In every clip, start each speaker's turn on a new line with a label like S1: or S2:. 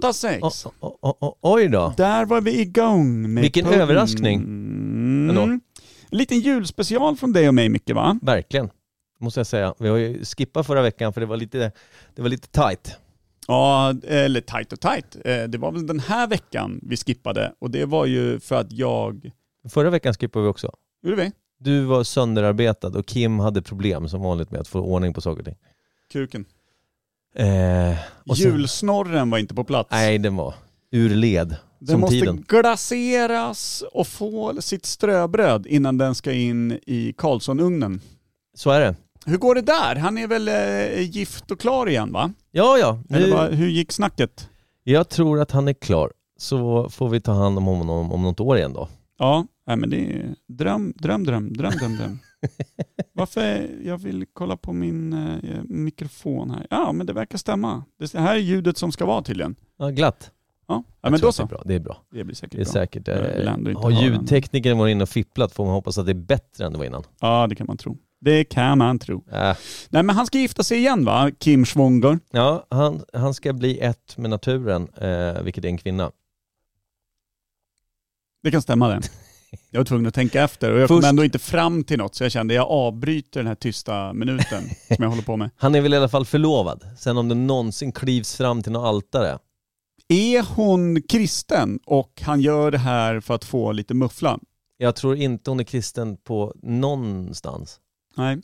S1: 8-6.
S2: O- o- o- o- Oj då.
S1: Där var vi igång med
S2: Vilken
S1: pungen. Mm.
S2: överraskning ändå.
S1: Liten julspecial från dig och mig Micke va?
S2: Verkligen. Måste jag säga. Vi har ju skippat förra veckan för det var lite, det var lite tight.
S1: Ja, eller tight och tight. Eh, Det var väl den här veckan vi skippade och det var ju för att jag...
S2: Förra veckan skippade vi också.
S1: Gjorde vi?
S2: Du var sönderarbetad och Kim hade problem som vanligt med att få ordning på saker och ting.
S1: Kuken.
S2: Eh, och sen-
S1: Julsnorren var inte på plats.
S2: Nej, den var ur led.
S1: den
S2: som
S1: måste
S2: tiden.
S1: glaseras och få sitt ströbröd innan den ska in i Karlssonugnen.
S2: Så är det.
S1: Hur går det där? Han är väl eh, gift och klar igen va?
S2: Ja, ja.
S1: Eller
S2: Nu,
S1: vad- hur gick snacket?
S2: jag tror att han är klar. Så får vi ta hand om honom om något år igen då.
S1: Ja, nej men det är dröm, dröm, dröm, dröm, dröm, dröm. Varför? Jag vill kolla på min eh, mikrofon här. Ja, men det verkar stämma. Det här är ljudet som ska vara tydligen.
S2: Ja, glatt.
S1: Ja, ja
S2: Jag
S1: men
S2: tror
S1: då
S2: att
S1: så.
S2: Det är bra. Det är bra.
S1: Det blir säkert
S2: Det är
S1: bra.
S2: säkert.
S1: Jag vill ändå
S2: Eh,
S1: inte
S2: har
S1: ha den.
S2: ljudteknikern varit inne och fipplat får man hoppas att det är bättre än det var innan.
S1: Ja, det kan man tro. Det kan man tro.
S2: Äh.
S1: Nej, men han ska gifta sig igen va? Kim Schwonger.
S2: Ja, han, han ska bli ett med naturen, eh, vilket är en kvinna.
S1: Det kan stämma det. Jag var tvungen att tänka efter och jag kom
S2: Först-
S1: ändå inte fram till något så jag kände jag avbryter den här tysta minuten som jag håller på med.
S2: Han är väl i alla fall förlovad. Sen om det någonsin klivs fram till något altare.
S1: Är hon kristen och han gör det här för att få lite muffla?
S2: Jag tror inte hon är kristen på någonstans.
S1: Nej.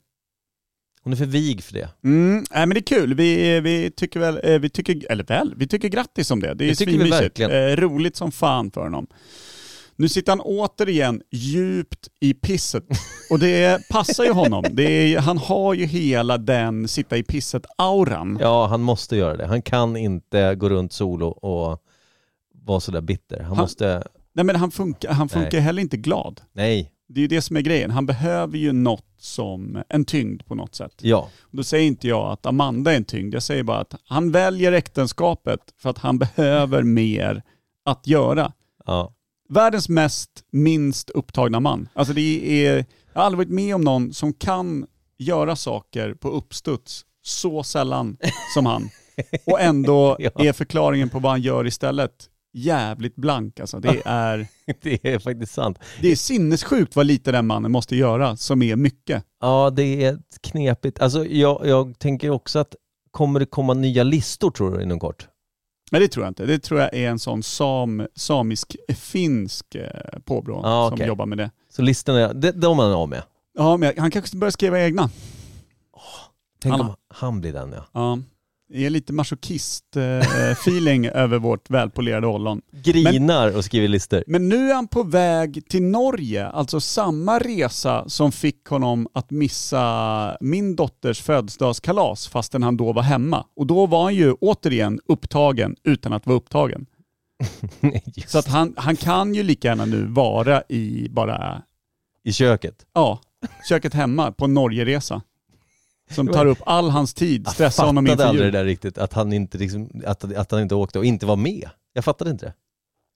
S2: Hon är för vig för det.
S1: Mm, nej, men det är kul. Vi, vi tycker väl, eh, vi tycker, eller väl, vi tycker grattis om det. Det är
S2: Det tycker vi
S1: svinmysigt.
S2: verkligen.
S1: Eh, roligt som fan för honom. Nu sitter han återigen djupt i pisset och det passar ju honom. Det är, han har ju hela den sitta i pisset-auran.
S2: Ja, han måste göra det. Han kan inte gå runt solo och vara sådär bitter. Han
S1: Han-
S2: måste...
S1: Nej men han funkar, han funkar
S2: Nej.
S1: heller inte glad.
S2: Nej.
S1: Det är ju det som är grejen. Han behöver ju något som, en tyngd på något sätt.
S2: Ja.
S1: Då säger inte jag att Amanda är en tyngd. Jag säger bara att han väljer äktenskapet för att han behöver mer att göra.
S2: ja.
S1: Världens mest minst upptagna man. Alltså det är, jag har aldrig varit med om någon som kan göra saker på uppstuds så sällan som han. Och ändå
S2: Ja.
S1: är förklaringen på vad han gör istället jävligt blank. Alltså det, är,
S2: Det är faktiskt sant.
S1: det är sinnessjukt vad lite den mannen måste göra som är mycket.
S2: Ja, det är knepigt. Alltså, jag, jag tänker också att kommer det komma nya listor tror du inom kort?
S1: Nej det tror jag inte. Det tror jag är en sån sam, samisk-finsk eh, påbrå
S2: Ah,
S1: som
S2: okej.
S1: jobbar med det.
S2: Så listorna, de, de man är av med.
S1: Ja, men jag- han kanske börjar skriva egna.
S2: Tänk
S1: Han-
S2: om han blir den ja.
S1: Ja. Det är lite masochist-feeling över vårt välpolerade ollon.
S2: Grinar och skriver listor.
S1: Men nu är han på väg till Norge, alltså samma resa som fick honom att missa min dotters födelsedagskalas fastän han då var hemma. Och då var han ju återigen upptagen utan att vara upptagen.
S2: Just.
S1: Så att han, han kan ju lika gärna nu vara i bara
S2: I köket.
S1: Ja, köket hemma på en Norgeresa. Som tar upp all hans tid, stressar honom
S2: fattade
S1: inför
S2: aldrig det
S1: jul.
S2: där riktigt, att han, inte liksom, att, att han inte åkte och inte var med. Jag fattade inte det.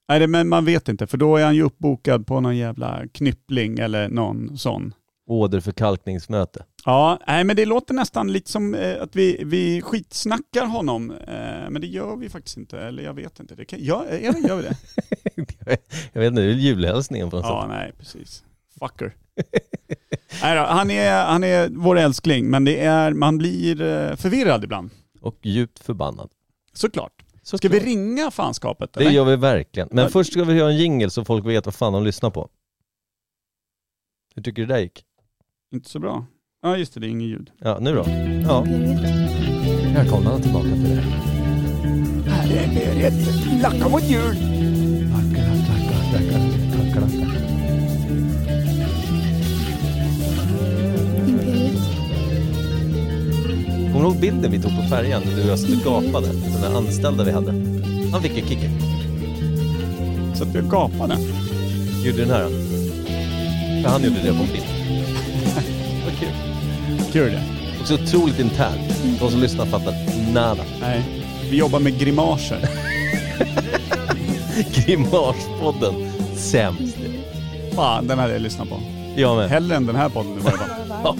S1: Nej, det- men man vet inte, för då är han ju uppbokad på någon jävla knyppling eller någon sån.
S2: Åderförkalkningsmöte.
S1: Ja, nej men det låter nästan lite som eh, att vi, vi skitsnackar honom, eh, men det gör vi faktiskt inte. Eller jag vet inte. Det kan, ja, eller gör vi det?
S2: jag vet inte, det är väl julhälsningen på något
S1: Ja,
S2: sätt.
S1: nej precis. Fucker. nej då, han, är, han är vår älskling, men det är, man blir eh, förvirrad ibland.
S2: Och djupt förbannad.
S1: Såklart.
S2: Så
S1: Ska vi ringa fanskapet?
S2: Det
S1: eller?
S2: gör vi verkligen. Men
S1: Ja.
S2: först ska vi göra en jingle så folk vet vad fan de lyssnar på. Hur tycker du det där gick?
S1: Inte så bra. Ja just det, det är inget ljud.
S2: Ja, nu då? Ja. Välkomna tillbaka till det.
S1: Här är Berit, lacka mot jul.
S2: Kommer du ihåg bilden vi tog på färjan? Du och jag stod och gapade. Den där anställda vi hade. Han fick en kick.
S1: Så att du gapade.
S2: Gjorde den här. då. För han gjorde det på en bild. Vad kul.
S1: Kul det.
S2: Också otroligt internt. De som lyssnar fattar nada.
S1: Nej. Vi jobbar med grimaser.
S2: Grimaspodden. Sämst.
S1: Fan, den hade jag lyssnat på.
S2: Jag med.
S1: Hellre än den här podden i varje fall.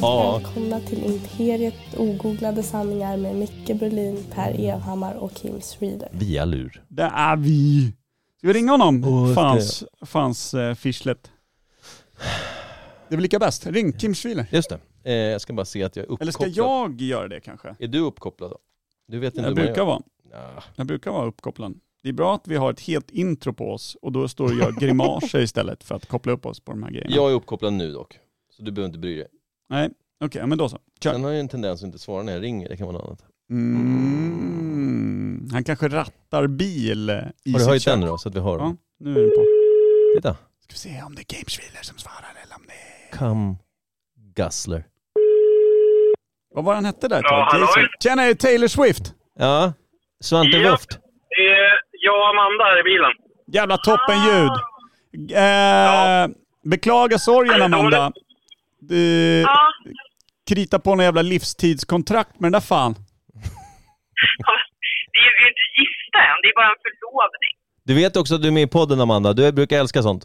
S2: Ja.
S3: Välkomna till Imperiet ogooglade sanningar med Micke Berlin, Per Evhammar och Kim Reader.
S2: Via lur.
S1: Det är vi. Ska vi ringa honom?
S2: Åh, det-
S1: Fans, fans eh, fischlet. Det är väl lika bäst. Ring Kim Schwiler.
S2: Just det. Eh, jag ska bara se att jag är uppkopplad.
S1: Eller ska jag göra det kanske?
S2: Är du uppkopplad då? Du vet inte
S1: Jag
S2: hur man
S1: brukar
S2: gör.
S1: vara.
S2: Ja.
S1: Jag brukar vara uppkopplad. Det är bra att vi har ett helt intro på oss och då står jag och gör grimaser istället för att koppla upp oss på de här grejerna.
S2: Jag är uppkopplad nu dock. Så du behöver inte bry dig.
S1: Nej, okej, ja, men då så. Kör.
S2: Sen har jag en tendens att inte svara när jag ringer. Det kan vara något annat.
S1: Mm. Han kanske rattar bil eh, i
S2: Har du
S1: sitt
S2: höjt
S1: kök.
S2: den då så att vi hör
S1: Ja,
S2: den?
S1: nu är den på.
S2: Titta.
S1: Ska vi se om det är Gameswheeler som svarar eller om det är...
S2: Come Guzzler.
S1: Vad var han hette där?
S4: Ja,
S1: Jason?
S4: hallå.
S1: Tjena, är det Taylor Swift?
S2: Ja. Svante
S4: Ja.
S2: Luft.
S4: Eh, jag och Amanda är i bilen.
S1: Jävla toppenljud! Eh,
S4: Ah.
S1: Beklaga sorgen Amanda. Du
S4: Ja,
S1: kritar på en jävla livstidskontrakt med den där fan.
S4: det är ju inte gifta än, det är bara en förlovning.
S2: Du vet också att du är med i podden Amanda. Du brukar älska sånt.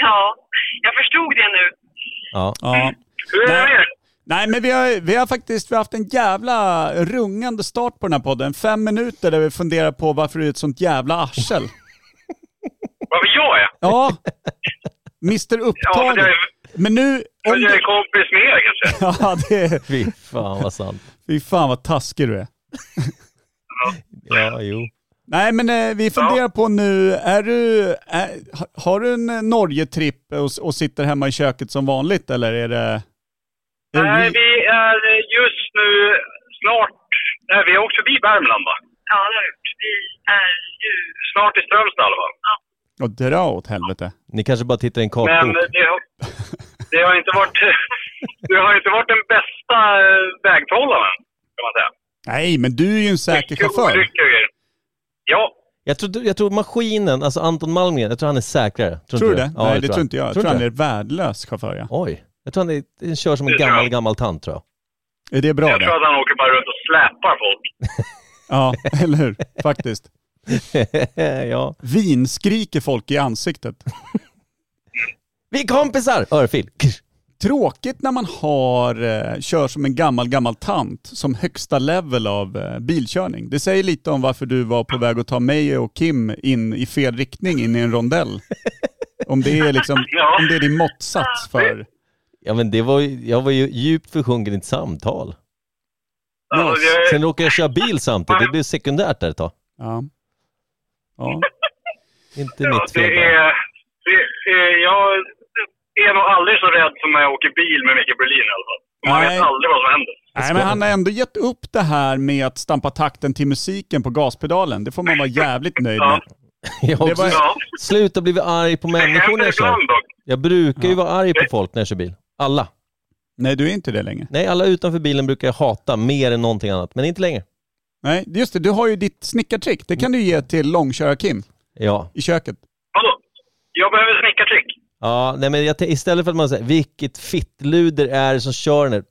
S4: Ja, jag förstod det nu.
S2: Ja.
S1: Ja.
S4: Hur är det med er?
S1: Nej men vi har, vi har faktiskt vi har haft en jävla rungande start på den här podden. Fem minuter där vi funderar på varför du är ett sånt jävla arsel.
S4: Varför jag är?
S1: Ja, Mr
S4: Ja, men
S1: Upptagen.
S4: jag är,
S1: Men nu...
S4: men
S1: Om
S4: jag
S1: du,
S4: är kompis med er kanske.
S1: ja, det är,
S2: Fy fan vad sant.
S1: fy fan vad taskig du är.
S2: Ja, jo.
S1: Nej men eh, vi funderar på nu, är du, är, ha- har du en eh, Norge-tripp och, s- och sitter hemma i köket som vanligt eller är det... Är
S4: Nej,
S1: vi-
S4: vi är just nu snart... Nej, vi är också vid Värmland va? Ja, det har vi Vi är ju... Snart i Strömstad i alla fall.
S1: Och dra åt helvete.
S2: Ni kanske bara tittar i en
S4: Men
S2: kartbok.
S4: det har, det har inte varit... Det har inte varit den bästa eh, väghållaren, kan man säga.
S1: Nej men du är ju en säker
S4: Mycket
S1: chaufför.
S4: olyckor och grejer. Ja,
S2: Jag tror, jag tror maskinen, alltså Anton Malmgren, jag tror han är säkrare.
S1: Tror du
S2: inte
S1: det?
S2: Ja,
S1: Nej det tror inte jag. Jag tror han
S2: inte
S1: är värdelös chaufför ja.
S2: Oj. Jag tror han är, han kör som en
S4: Det tror
S2: gammal,
S4: jag.
S2: gammal tant tror jag.
S1: Är det bra
S4: jag tror
S1: det?
S4: att han åker bara runt och släpar folk.
S1: Ja, eller hur? Faktiskt.
S2: ja.
S1: Vin skriker folk i ansiktet.
S2: Vi är kompisar! Örfil.
S1: Tråkigt när man har, eh, kör som en gammal, gammal tant som högsta level av eh, bilkörning. Det säger lite om varför du var på väg att ta mig och Kim in i fel riktning, in i en rondell. Om det är, liksom,
S4: Ja.
S1: om det är din måttsats för...
S2: Ja men det var ju, jag var ju djupt försjunken i ett samtal.
S4: Alltså,
S1: Yes.
S4: det-
S2: Sen råkade jag köra bil samtidigt, det blev sekundärt där ett tag.
S1: Ja. Ja.
S2: Inte
S4: ja,
S2: mitt fel.
S4: det
S2: bara.
S4: är, det är, jag är nog aldrig så rädd som när jag åker bil med Micke Berlin i alla fall. Man
S1: Nej.
S4: vet aldrig vad som händer.
S1: Nej, men han har ändå gett upp det här med att stampa takten till musiken på gaspedalen. Det får man vara jävligt nöjd med.
S4: Ja.
S2: Jag har
S1: Det
S2: också
S1: var-
S4: Ja.
S2: slutat bli arg på
S4: Det
S2: människor när
S4: händer
S2: jag kör.
S4: ibland dock.
S2: Jag brukar ju vara arg på folk när jag kör bil. Alla.
S1: Nej, du är inte det längre.
S2: Nej, alla utanför bilen brukar jag hata mer än någonting annat, men inte längre.
S1: Nej, just det. Du har ju ditt snickartrick. Det kan du ge till långköra-Kim
S2: Ja,
S1: i köket.
S4: Vadå? Jag behöver snickartrick.
S2: ja nej, men jag, t- istället för att man säger vilket fittluder är det som kör den här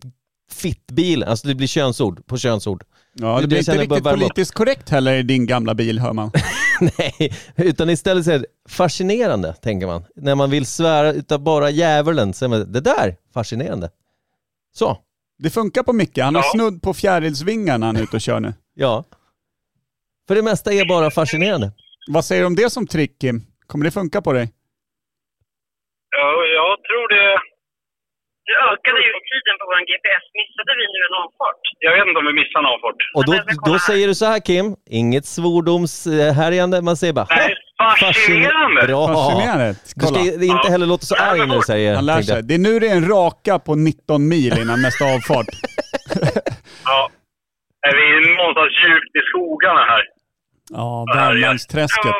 S2: fittbilen? Alltså det blir könsord på könsord.
S1: Ja, det,
S2: Det
S1: blir
S2: känner
S1: inte
S2: jag
S1: riktigt
S2: bara värme upp.
S1: politiskt korrekt heller i din gamla bil, hör man.
S2: nej, utan istället säger det fascinerande, tänker man. När man vill svära utav bara djävulen, säger man det där, fascinerande. Så,
S1: Det funkar på Micke. Han har
S4: Ja.
S1: snudd på fjärilsvingar när han är ute och kör nu.
S2: ja. För det mesta är bara fascinerande.
S1: Vad säger du om det som trick, Kim? Kommer det funka på dig?
S4: Ja, jag tror det...
S5: Du ökade ju tiden på vår GPS. Missade vi nu en avfart?
S4: Jag vet inte om vi missar en avfart.
S2: Och då,
S5: Men jag ska kolla
S2: då
S5: här.
S2: säger du så här Kim, inget svordomshärjande, man säger bara
S4: Nej,
S2: "Ha,
S4: fascinerande."
S2: Bra!
S1: Fascinerande.
S2: Du ska
S1: Kolla.
S2: inte heller låta så arg när du säger
S1: Han lär
S2: tänkte jag.
S1: sig. Det är nu det är en raka på 19 mil innan nästa avfart.
S4: Ja. Är vi är någonstans djupt i skogarna här.
S1: Ja, Värmlandsträsket.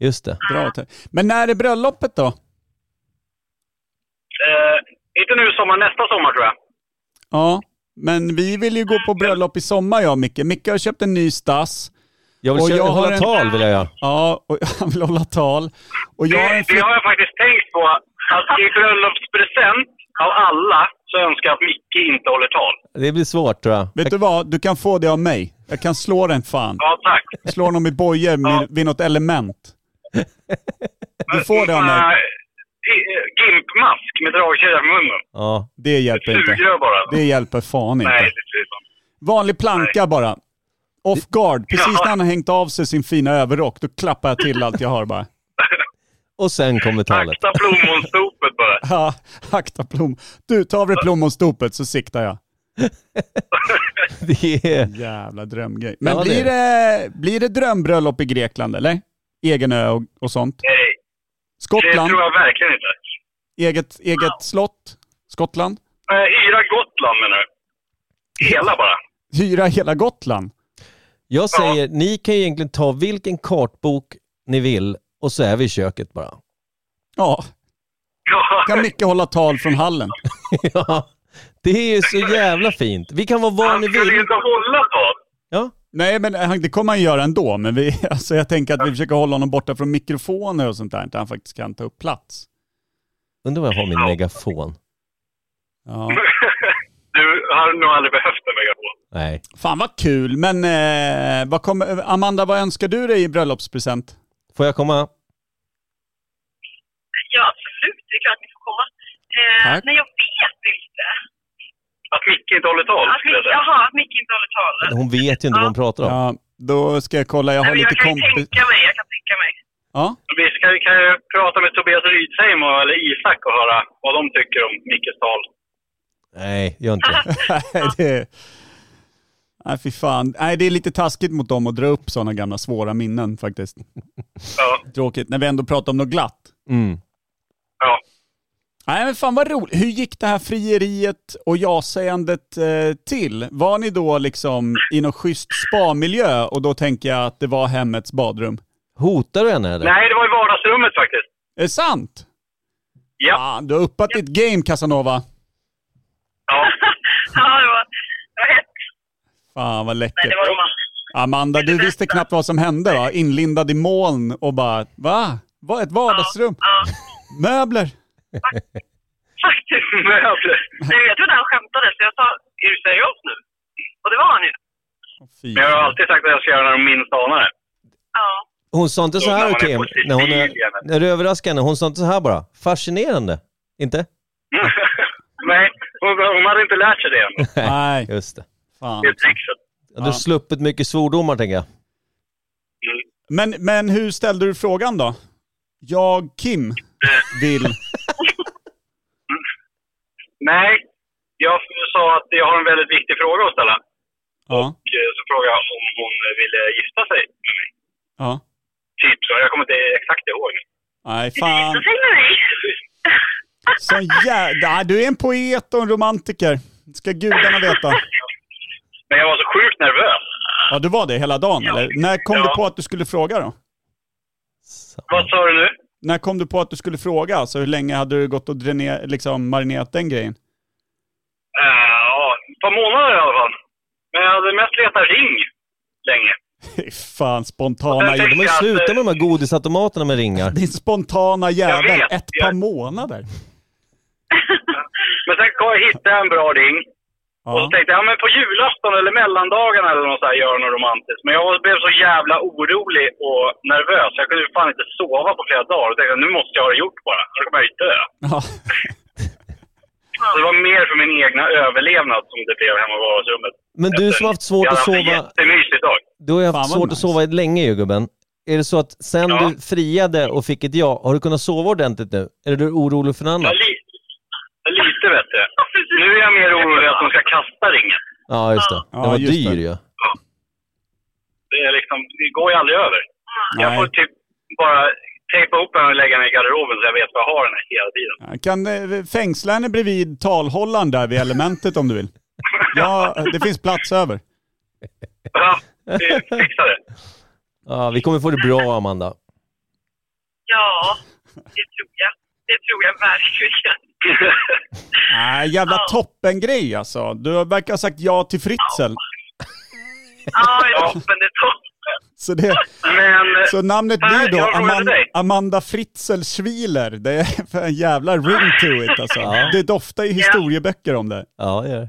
S2: Just det.
S1: Dra åt här. Men när är bröllopet då?
S4: Eh, inte nu i sommar, nästa sommar tror jag.
S1: Ja, men vi vill ju gå på bröllop i sommar jag och Micke. Micke har köpt en ny stass.
S2: Jag vill
S1: Och
S2: köra,
S1: jag har
S2: hålla
S1: en-
S2: tal vill jag göra.
S1: Ja, och han vill hålla tal. Och jag har en
S4: Det, det
S1: flick-
S4: har jag faktiskt tänkt på. Att i bröllopspresent av alla så önskar jag att Micke inte håller tal.
S2: Det blir svårt tror jag.
S1: Vet du vad? Du kan få det av mig. Jag kan slå den fan.
S4: Ja, tack.
S1: Slå honom i bojor med- vid något element. Du får det av mig.
S4: Eh, gi- eh, gimpmask med dragkedja på munnen.
S2: Ja.
S1: Det hjälper inte.
S4: Sugrör bara.
S1: Det hjälper fan
S4: Nej,
S1: inte.
S4: det ser ut som.
S1: Vanlig planka bara. Off guard. Precis när han har hängt av sig sin fina överrock, då klappar jag till allt jag har bara.
S2: Och sen kommer talet.
S4: Akta plommonstopet bara.
S1: Ja, akta plom. Du, ta av dig plommonstopet så siktar jag.
S2: Det är...
S1: Jävla drömgrej. Men
S2: Ja, det
S1: blir, det, blir det drömbröllop i Grekland eller? Egen ö och, och sånt?
S4: Nej, det
S1: Skottland?
S4: tror jag verkligen inte.
S1: Eget, eget slott? Skottland?
S4: Eh, Hyra Gotland menar du? Hela bara.
S1: Hyra hela Gotland?
S2: Jag säger, ni kan ju egentligen ta vilken kartbok ni vill och så är vi i köket bara.
S1: Ja,
S4: Ja,
S1: kan Micke hålla tal från hallen.
S2: Ja, det är ju så jävla fint. Vi kan vara var
S4: han
S2: ni
S4: skulle ju
S2: vill.
S4: inte hålla tal.
S2: Ja,
S1: Nej, men han- det kommer han göra ändå. Men vi, alltså jag tänker att vi försöker hålla honom borta från mikrofoner och sånt där, inte han faktiskt kan ta upp plats.
S2: undrar var jag har min megafon.
S1: Ja.
S4: Du har nog aldrig behövt en megafon.
S2: Nej.
S1: Fan vad kul, men eh, vad kommer- Amanda, vad önskar du dig i bröllopspresent?
S2: Får jag komma?
S5: Ja, absolut. Det är klart att ni får komma. Eh,
S1: Tack.
S5: men jag vet inte.
S4: Att Micke inte håller tal,
S5: Att
S4: skulle jag
S5: Micke,
S4: säga.
S5: jaha, att Micke inte håller talet.
S2: Hon vet ju inte vad hon pratar om.
S1: Ja, då ska jag kolla, jag
S5: Nej,
S1: har
S5: men
S1: lite
S5: jag kan ju
S1: kompis...
S5: tänka mig, jag kan tänka mig.
S1: Ja,
S4: Vi ska, vi kan ju prata med Tobias Rydheim och, eller Isak och höra vad de tycker om Mickes tal.
S2: Nej, gör inte det.
S1: Nej, det... Nej, fy fan. Nej, det är lite taskigt mot dem att dra upp sådana gamla svåra minnen faktiskt.
S4: Ja,
S1: Tråkigt, när vi ändå pratar om något glatt.
S2: Mm.
S4: ja.
S1: Nej men fan vad roligt. Hur gick det här frieriet och ja-sägandet eh, till? Var ni då liksom i någon schysst spa-miljö och då tänker jag att det var hemmets badrum?
S2: Hotar du henne eller?
S4: Nej, det var i vardagsrummet faktiskt.
S1: Är det sant?
S4: Ja.
S1: Fan, du har uppat ditt game Casanova.
S4: Ja.
S5: Ja, det var, det var hett.
S1: Fan vad
S5: Nej,
S1: läckert.
S5: det var romantiskt.
S1: Amanda, du visste knappt vad som hände va? Inlindad i moln och bara va? Vad ett vardagsrum?
S5: Ja,
S1: Möbler?
S5: faktiskt.
S4: Möbler.
S5: Nej, jag trodde han skämtade, så jag sa, är du seriös nu? Och det var han ju.
S1: Fy.
S4: Men jag har alltid sagt att jag ska göra när de minst anar det.
S5: Ja.
S2: Hon sa inte så
S4: När
S2: här
S4: man är
S2: Kim,
S4: på
S2: när, hon är,
S4: Sicilien.
S2: när du överraskar henne. Hon sa inte så här bara. Fascinerande. Inte?
S4: Nej, hon, hon hade inte lärt sig det än.
S1: Nej,
S2: Just det.
S1: fan.
S4: Det är trixet.
S2: Du har sluppit mycket svordomar tänker jag.
S4: Mm.
S1: Men, men hur ställde du frågan då? Jag,
S5: Eh.
S1: Kim, vill...
S4: Nej, jag sa att jag har en väldigt viktig fråga att ställa.
S1: Ja,
S4: Och eh, så frågade jag om hon ville gifta sig med mig.
S1: ja.
S4: Typ så. Jag kommer inte exakt ihåg.
S1: Nej, fan.
S5: Så säg nej.
S1: Sån jävla... Du är en poet och en romantiker. Det ska gudarna veta.
S4: Men jag var så sjukt nervös.
S1: Ja, du var det hela dagen eller? När kom du
S4: Ja.
S1: på att du skulle fråga då?
S2: Så.
S4: Vad sa du nu?
S1: När kom du på att du skulle fråga? Alltså hur länge hade du gått och dräner, liksom, marinerat den grejen?
S4: Eh, Ja, ett par månader i alla fall. Men jag hade mest letat ring länge.
S1: Fy Fan, spontana...
S4: Jag
S2: De har ju slutat med de här godisautomaterna med ringar.
S1: Din spontana jävel.
S4: vet,
S1: Ett
S4: jag-
S1: par månader.
S4: Men sen kom jag hitta en bra ring. Och så
S1: Ja.
S4: tänkte jag, ja men på julafton eller mellandagarna eller något så här, gör något romantiskt. Men jag var- blev så jävla orolig och nervös. Jag kunde ju fan inte sova på flera dagar. Och tänkte, jag, nu måste jag ha det gjort bara. Annars kommer jag ju dö.
S1: ja.
S4: Så det var mer för min egna överlevnad som det blev hemma i vardagsrummet.
S2: Men du som har haft svårt
S4: Jag
S2: att
S4: hade haft en
S2: sova
S4: jättemysig dag.
S2: Du har ju
S1: Fan,
S2: haft
S1: vad
S2: svårt att
S1: nice.
S2: sova länge ju gubben. Är det så att sen
S4: Ja.
S2: du friade och fick ett ja, har du kunnat sova ordentligt nu? Eller är du orolig för något
S4: Ja,
S2: annat?
S4: li- lite vet du. Nu är jag mer orolig att de ska kasta ringen.
S2: Ja, just det. Den
S1: Ja,
S2: var
S1: just
S2: dyr
S1: det.
S2: ju.
S4: Det, är liksom, det går ju aldrig över. Jag får
S1: Nej.
S4: typ bara tejpa ihop den och lägga den i garderoben så jag vet vad jag har den här hela tiden.
S1: Jag Kan eh, fängsla henne bredvid talhållaren där vid elementet om du vill. Ja, det finns plats över.
S4: Ja, vi fixar det.
S2: Ja, vi kommer få det bra Amanda.
S5: Ja, det tror jag. Det tror jag verkligen.
S1: Nej, jävla toppengrej alltså. Du verkar ha sagt ja till Fritzl.
S5: Ja, det är toppen. Det är toppen.
S1: Så, det,
S4: Men eh,
S1: så namnet blir då
S4: Jag har en fråga till
S1: Amanda,
S4: dig.
S1: Amanda Fritzl Schwiler. Det är för en jävla ring to it alltså.
S2: Ja.
S1: Det doftar i historieböcker om det.
S2: Ja, det är det.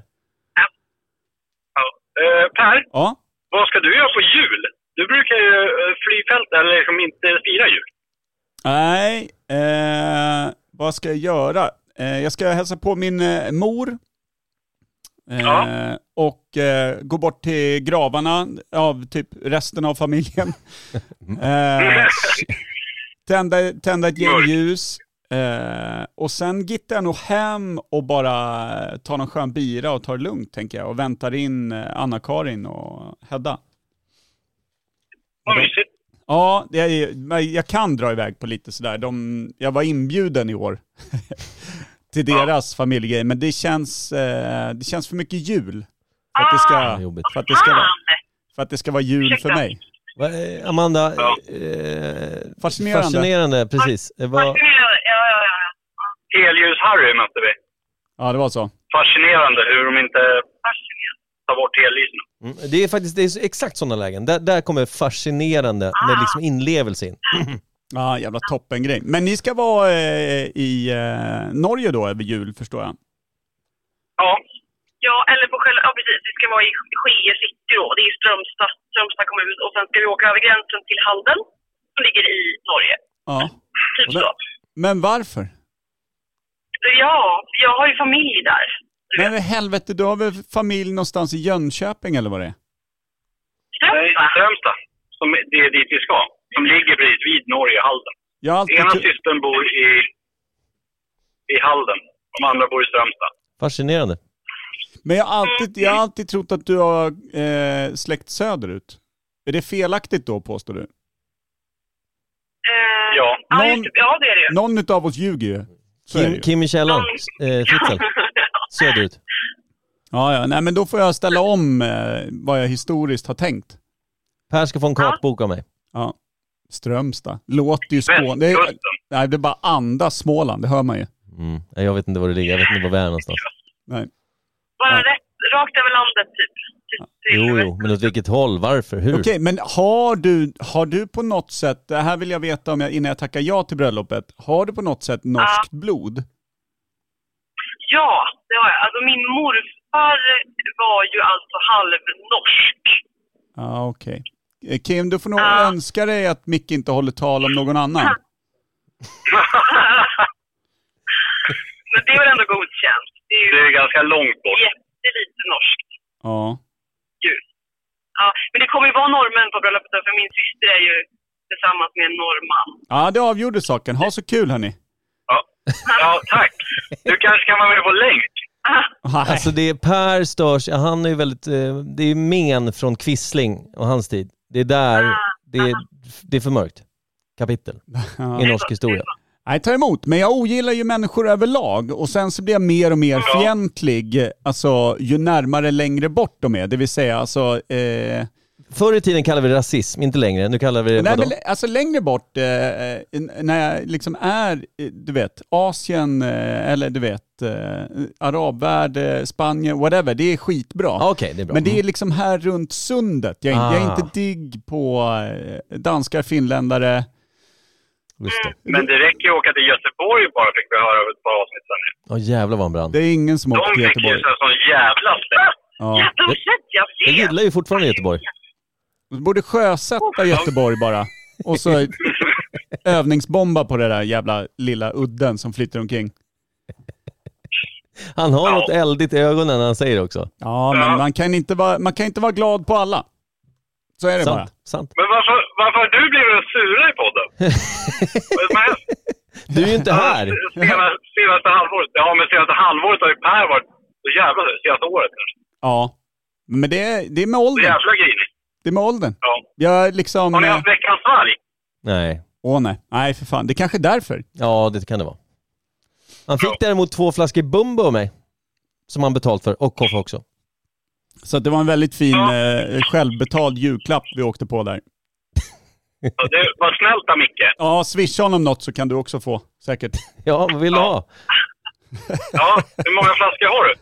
S4: ja. Eh, Per,
S1: Ja.
S4: vad ska du göra på jul? Du brukar ju eh, fly fält eller liksom inte fira jul.
S1: Nej, eh, Vad ska jag göra? Eh, jag ska hälsa på min eh, mor. Eh,
S4: Ja.
S1: Och eh, gå bort till gravarna av typ resten av familjen.
S4: Mm.
S1: eh, tända, tända ett gäng
S4: Mörkt.
S1: ljus. Eh, och sen gittar jag nog hem och bara tar någon skön bira och tar det lugnt tänker jag. Och väntar in eh, Anna-Karin och Hedda.
S4: Vad mysigt.
S1: Ja, det är, men jag kan dra iväg på lite sådär. De, jag var inbjuden i år till deras familjegrej, men det känns, eh, det känns för mycket jul. För att det
S2: Ah,
S1: ska,
S2: jobbigt.
S1: för att det ska, vara,
S5: Fan!
S1: för att det ska vara jul för mig.
S2: Va- eh, Amanda,
S4: Ja.
S2: eh,
S1: Fascinerande.
S2: fascinerande, precis. Eh, vad-
S5: Fascinerande. Ja, ja, ja.
S4: Helljus-Harry mötte vi.
S1: Ja, det var så.
S4: Fascinerande hur de inte
S5: Fascinerande.
S4: tar bort hellysen.
S2: Mm, det är faktiskt det är så- exakt sådana lägen. Där, där kommer fascinerande med liksom inlevelse in.
S1: Ja, jävla toppengrej. Men ni ska vara eh, i eh, Norge då över jul förstår jag.
S4: Ja,
S5: Ja, eller på själva... Ja, precis. Vi ska vara i Skie city då. Det är Strömstad, Strömstad kommun. Och sen ska vi åka över gränsen till Halden, som ligger i Norge.
S1: Ja.
S5: Typ
S1: Och där-
S5: så.
S1: Men varför?
S5: Ja, jag har ju familj där.
S1: Men i helvete, du har väl familj någonstans i Jönköping eller vad det är?
S4: Nej,
S5: Strömstad.
S4: Strömstad. Som, det är dit vi ska. Som ligger precis vid Norge, Halden.
S1: Jag har alltid
S4: Ena
S1: tro-
S4: systern bor i, i Halden. De andra bor i Strömstad.
S2: Fascinerande.
S1: Men jag har alltid, jag har alltid trott att du har eh, släkt söderut. Är det felaktigt då påstår du?
S5: Eh,
S4: Ja.
S5: Ja,
S1: Någon-
S5: just, det. ja, det är det ju.
S1: Någon utav oss ljuger ju. Så är det
S2: Kim,
S1: ju.
S2: Kim i källaren, eh, Fritzl, söderut.
S1: Ja, ja. Nej, men då får jag ställa om eh, vad jag historiskt har tänkt.
S2: Per ska få en kartbok av mig.
S1: Ja. Strömstad. Låter ju Skåne. Det är,
S4: Västkusten.
S1: nej, det är bara andas Småland, det hör man ju.
S2: Mm. Nej, Jag vet inte var det ligger, jag vet inte var vi är någonstans.
S1: Nej.
S5: Bara rätt, rakt över landet typ. Till- till-
S2: Jo, jo, men åt vilket håll, varför, hur?
S1: Okej, men har du, har du på något sätt, det här vill jag veta om jag, innan jag tackar ja till bröllopet, har du på något sätt norskt blod?
S5: Ja, det har jag. Alltså min morfar var ju alltså halvnorsk.
S1: Ja, okej. Eh, Kim, du får nog
S5: Ja.
S1: önska dig att Micke inte håller tal om någon annan.
S5: Men det är väl ändå godkänt. Det är ju
S4: Det är ganska långt bort.
S5: jättelite norskt.
S1: Ja.
S5: Ja, men det kommer ju vara norrmän på bröllopet för min syster är ju tillsammans med en norrman.
S1: Ja, det avgjorde saken. Ha så kul hörni.
S4: Ja. ja, tack. Du kanske kan vara med på länk?
S5: Ah,
S2: Alltså det är Per störs, ja, han är ju väldigt, eh, det är ju men från Quisling och hans tid. Det är där, det är, det är för mörkt. Kapitel
S1: Ja.
S2: i norsk historia.
S1: Nej, ta emot. Men jag ogillar ju människor överlag och sen så blir jag mer och mer fientlig alltså, ju närmare längre bort de är. Det vill säga alltså... Eh,
S2: Förr i tiden kallade vi det rasism, inte längre. Nu kallar vi det
S1: nej,
S2: Eh, vadå?
S1: men, alltså längre bort, eh, eh, när jag liksom är, eh, du vet, Asien eh, eller du vet, eh, arabvärld, eh, Spanien, whatever. Det är skitbra.
S2: Ja, Okej, det är bra. Mm.
S1: Men det är liksom här runt sundet. Jag är, jag är
S2: Ah.
S1: inte digg på eh, danskar, finländare.
S2: Mm, Just det.
S4: Men det räcker ju att åka till Göteborg bara, fick vi höra av ett par avsnitt sen. nu.
S2: Åh jävlar vad han brann.
S1: Det är ingen som åker
S4: De
S1: till
S4: fick ju
S1: Göteborg.
S4: en sån jävla släng.
S1: Ja.
S5: jävlar vad fett jag
S2: Jag
S5: ser!
S2: gillar ju fortfarande Göteborg.
S1: Du borde sjösätta Göteborg bara. Och så övningsbomba på det där jävla lilla udden som flyter omkring.
S2: Han har
S4: Ja.
S2: något eldigt i ögonen när han säger det också.
S1: Ja, men
S4: Ja.
S1: man kan inte vara, man kan inte vara glad på alla. Så är det bara.
S2: Sant, sant.
S4: Men varför, varför har du blivit den sura i podden? Vad är det som händer?
S2: Du är ju inte här.
S4: Senaste, senaste halvåret? Ja, men senaste halvåret har ju Per varit så jävla Senaste året kanske.
S1: Ja. Men det är, det är med
S4: Så
S1: åldern.
S4: jävla grinig.
S1: Det är med åldern.
S4: Ja.
S1: Jag
S4: Har
S1: liksom...
S4: ni
S1: eh,
S4: haft veckans valg?
S2: Nej.
S1: Åh nej. Nej, för fan. Det är kanske är därför.
S2: Ja, det kan det vara. Han fick däremot två flaskor Bumbo av mig. Som han betalt för, och kaffe också.
S1: Så att det var en väldigt fin eh, självbetald julklapp vi åkte på där.
S4: Ja, det var snällt av Micke.
S1: Ja, swisha honom något så kan du också få, säkert.
S2: Ja, vad vill du ha?
S4: Ja, hur många flaskor har du?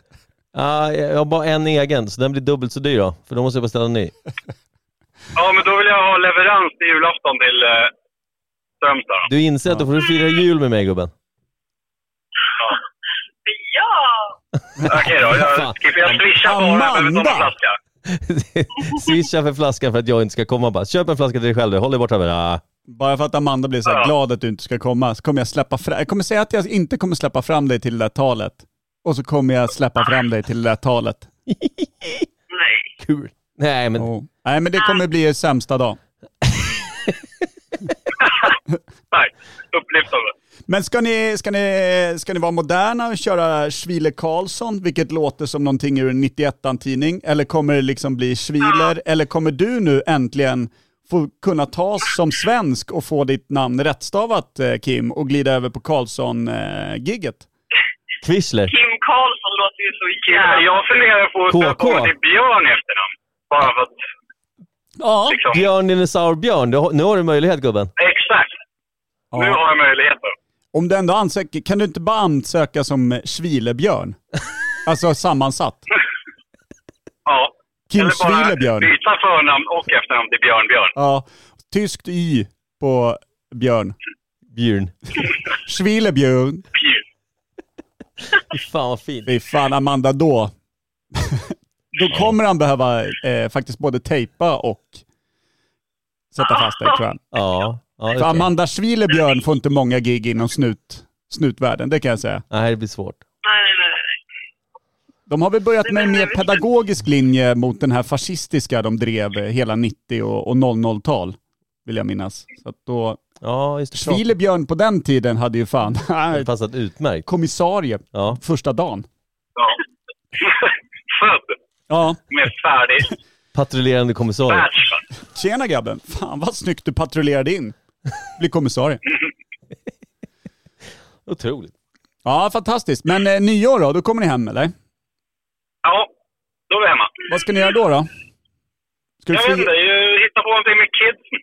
S2: Ah, jag har bara en egen, så den blir dubbelt så dyr då. För då måste jag beställa en ny.
S4: Ja, men då vill jag ha leverans till julafton till eh, Strömstad. då.
S2: Du inser att då får du fira jul med mig gubben.
S5: Ja!
S4: Okej då, jag, ska jag swishar bara. Jag behöver inte ha någon
S1: Amanda!
S4: flaska.
S2: Swisha för flaskan för att jag inte ska komma bara. Köp en flaska till dig själv du. Håll dig borta med det.
S1: Bara för att Amanda blir så här
S4: Ja.
S1: glad att du inte ska komma så kommer jag släppa fram... Jag kommer säga att jag inte kommer släppa fram dig till det där talet. Och så kommer jag släppa fram dig till det där talet.
S5: Nej.
S2: Kul. Nej men
S1: Oh. Nej men det kommer bli er sämsta dag.
S4: Nej, upplevt av det.
S1: Men ska ni, ska ni, ska ni vara moderna och köra Schwiler Karlsson, vilket låter som någonting ur en 91-tidning? Eller kommer det liksom bli Schwiler? Eller kommer du nu äntligen få kunna tas som svensk och få ditt namn rättstavat eh, Kim och glida över på Karlsson-gigget?
S2: Quisler.
S5: Kim Karlsson låter ju så
S4: Ja,
S5: jävla...
S4: jag funderar på att
S2: KK.
S4: döpa mig till Björn i efternamn. Bara för att
S1: Ja.
S4: liksom...
S2: Björn Dinosaur Björn, du, har- nu har du möjlighet gubben.
S4: Exakt. Nu har jag möjligheten.
S1: Om du ändå ansöker, kan du inte bara ansöka som Schwilerbjörn? Alltså sammansatt.
S4: Ja.
S1: Kim
S4: Eller bara
S1: Schwilerbjörn.
S4: byta förnamn och efternamn till Björn Björn.
S1: Ja. Tyskt Y på björn.
S2: Björn.
S1: Schwilerbjörn.
S4: Pju.
S2: Fy Fan vad fint.
S1: Fy fan Amanda, då... då kommer han behöva eh, faktiskt både tejpa och sätta fast dig tror jag.
S2: Ja. ja
S1: För
S2: okay.
S1: Amanda Schwilerbjörn får inte många gig inom snut, snutvärlden, det kan jag säga.
S2: Nej det blir svårt.
S5: Nej, nej, nej. nej.
S1: De har väl börjat med en mer pedagogisk linje mot den här fascistiska de drev eh, hela 90 och, och 00-tal, vill jag minnas. Så att då...
S2: Ja just det. klart.
S1: Schwilerbjörn på den tiden hade ju fan
S2: Det hade passat utmärkt.
S1: kommissarie
S2: Ja.
S1: första dagen.
S4: Ja. Född
S1: Ja,
S4: med färdig
S2: Patrullerande kommissarie.
S4: bachelor.
S1: tjena grabben. Fan vad snyggt du patrullerade in. Bli kommissarie.
S2: Otroligt.
S1: Ja, fantastiskt. Men eh, nyår då, då kommer ni hem eller?
S4: Ja, då är vi hemma.
S1: Vad ska ni göra då? då? Ska du
S4: Jag vet inte,
S1: fira?
S4: ju- hitta på någonting med kidsen.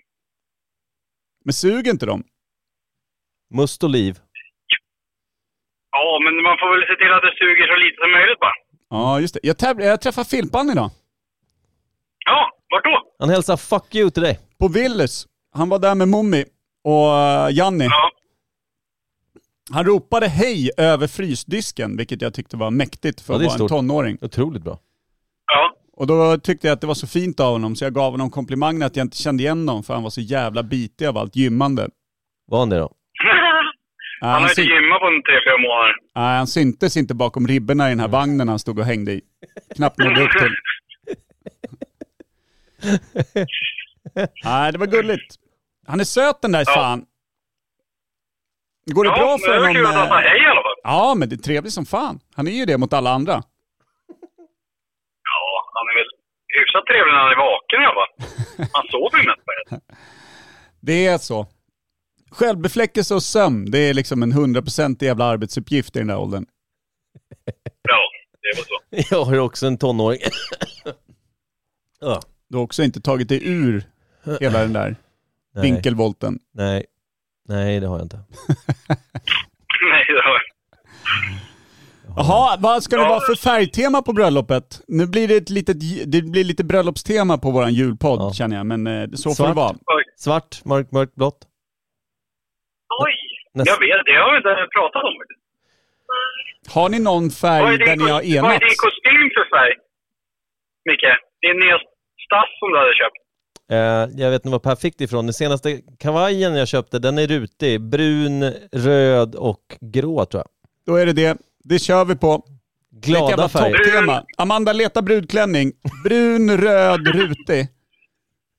S1: Men suger inte dem?
S2: Must och liv.
S4: Ja, men man får väl se till att det suger så lite som möjligt bara.
S1: Ja, just det. Jag, täv- jag träffar Filpan idag.
S4: Ja, vart då?
S2: Han hälsar fuck you till dig.
S1: På Willys. Han var där med Mummi och eh, Janni.
S4: Ja.
S1: Han ropade hej över frysdisken, vilket jag tyckte var mäktigt för
S2: Ja,
S1: att
S2: det är
S1: vara en
S2: stort.
S1: tonåring.
S2: Otroligt bra.
S4: Ja.
S1: Och då tyckte jag att det var så fint av honom, så jag gav honom komplimangen att jag inte kände igen honom, för han var så jävla bitig av allt gymmande. Äh,
S2: Var han det då?
S4: Han har
S1: syn-
S4: inte gymmat på en tre, fyra månader.
S1: Nej, han syntes inte bakom ribborna i den här vagnen han stod och hängde i. Knappt nådde upp till. Nej, det var gulligt. Han är söt den där fan. Går det
S4: ja,
S1: bra
S4: men
S1: för
S4: Det var kul att han sa
S1: honom? eh,
S4: hej i alla fall.
S1: Ja, men det är trevligt som fan. Han är ju det mot alla andra.
S4: Ja, han är väl hyfsat trevlig när han är vaken i alla fall. Han sover ju mest på det.
S1: Det är så. Självbefläckelse och sömn, det är liksom en hundraprocentig jävla arbetsuppgift i den där åldern.
S4: Ja, det var så.
S2: Jag har också en tonåring. ja.
S1: Du har också inte tagit dig ur hela den där
S2: Nej.
S1: vinkelvolten.
S2: Nej. Nej det har jag inte.
S4: Nej, det var...
S1: Jaha, vad ska det vara för färgtema på bröllopet? Nu blir det, ett litet, j- det blir lite bröllopstema på våran julpodd
S2: Ja.
S1: känner jag, men eh, så får
S2: Svart.
S1: det vara.
S4: Oj,
S2: Svart, mörkt, mörkt, blått.
S5: Oj!
S2: Näst-
S4: jag vet, det har vi inte pratat om.
S1: Har ni någon
S4: Vad är
S1: färg
S4: din
S1: där ni
S4: kos-
S1: har
S4: Vad är
S1: enats?
S4: din kostym för färg? Micke, din nya stass som du hade köpt.
S2: Eh, jag vet inte vad Per fick det ifrån. Den senaste kavajen jag köpte, den är rutig. Brun, röd och grå tror jag.
S1: Då är det det. Det kör vi på. Vilket jävla
S2: Glada färger.
S1: topptema. Amanda, leta brudklänning. Brun, röd, rutig.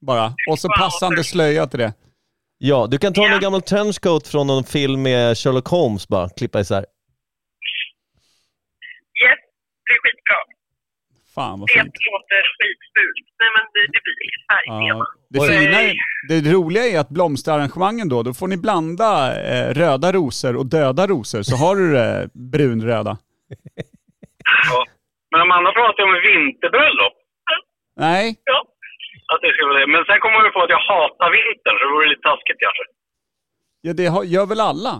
S1: Bara. Och så passande slöja till det.
S2: Ja, du kan ta en gammal trenchcoat från någon film med Sherlock Holmes bara, klippa isär.
S5: Yes, det är skitbra.
S1: Fan vad
S5: Det
S1: fint.
S5: låter skitfult. Nej, men det, det blir inget färgtema.
S1: Ja. Det, fina är, det roliga är att blomsterarrangemangen då, då får ni blanda eh, röda rosor och döda rosor så har du eh, brunröda.
S4: Ja. Men Amanda pratade om vinterbröllop.
S1: Nej,
S5: Ja.
S4: Att det skulle vara det. Men sen kom hon ju på att jag hatar vintern, så det vore lite taskigt kanske.
S1: ja, det har, gör väl alla?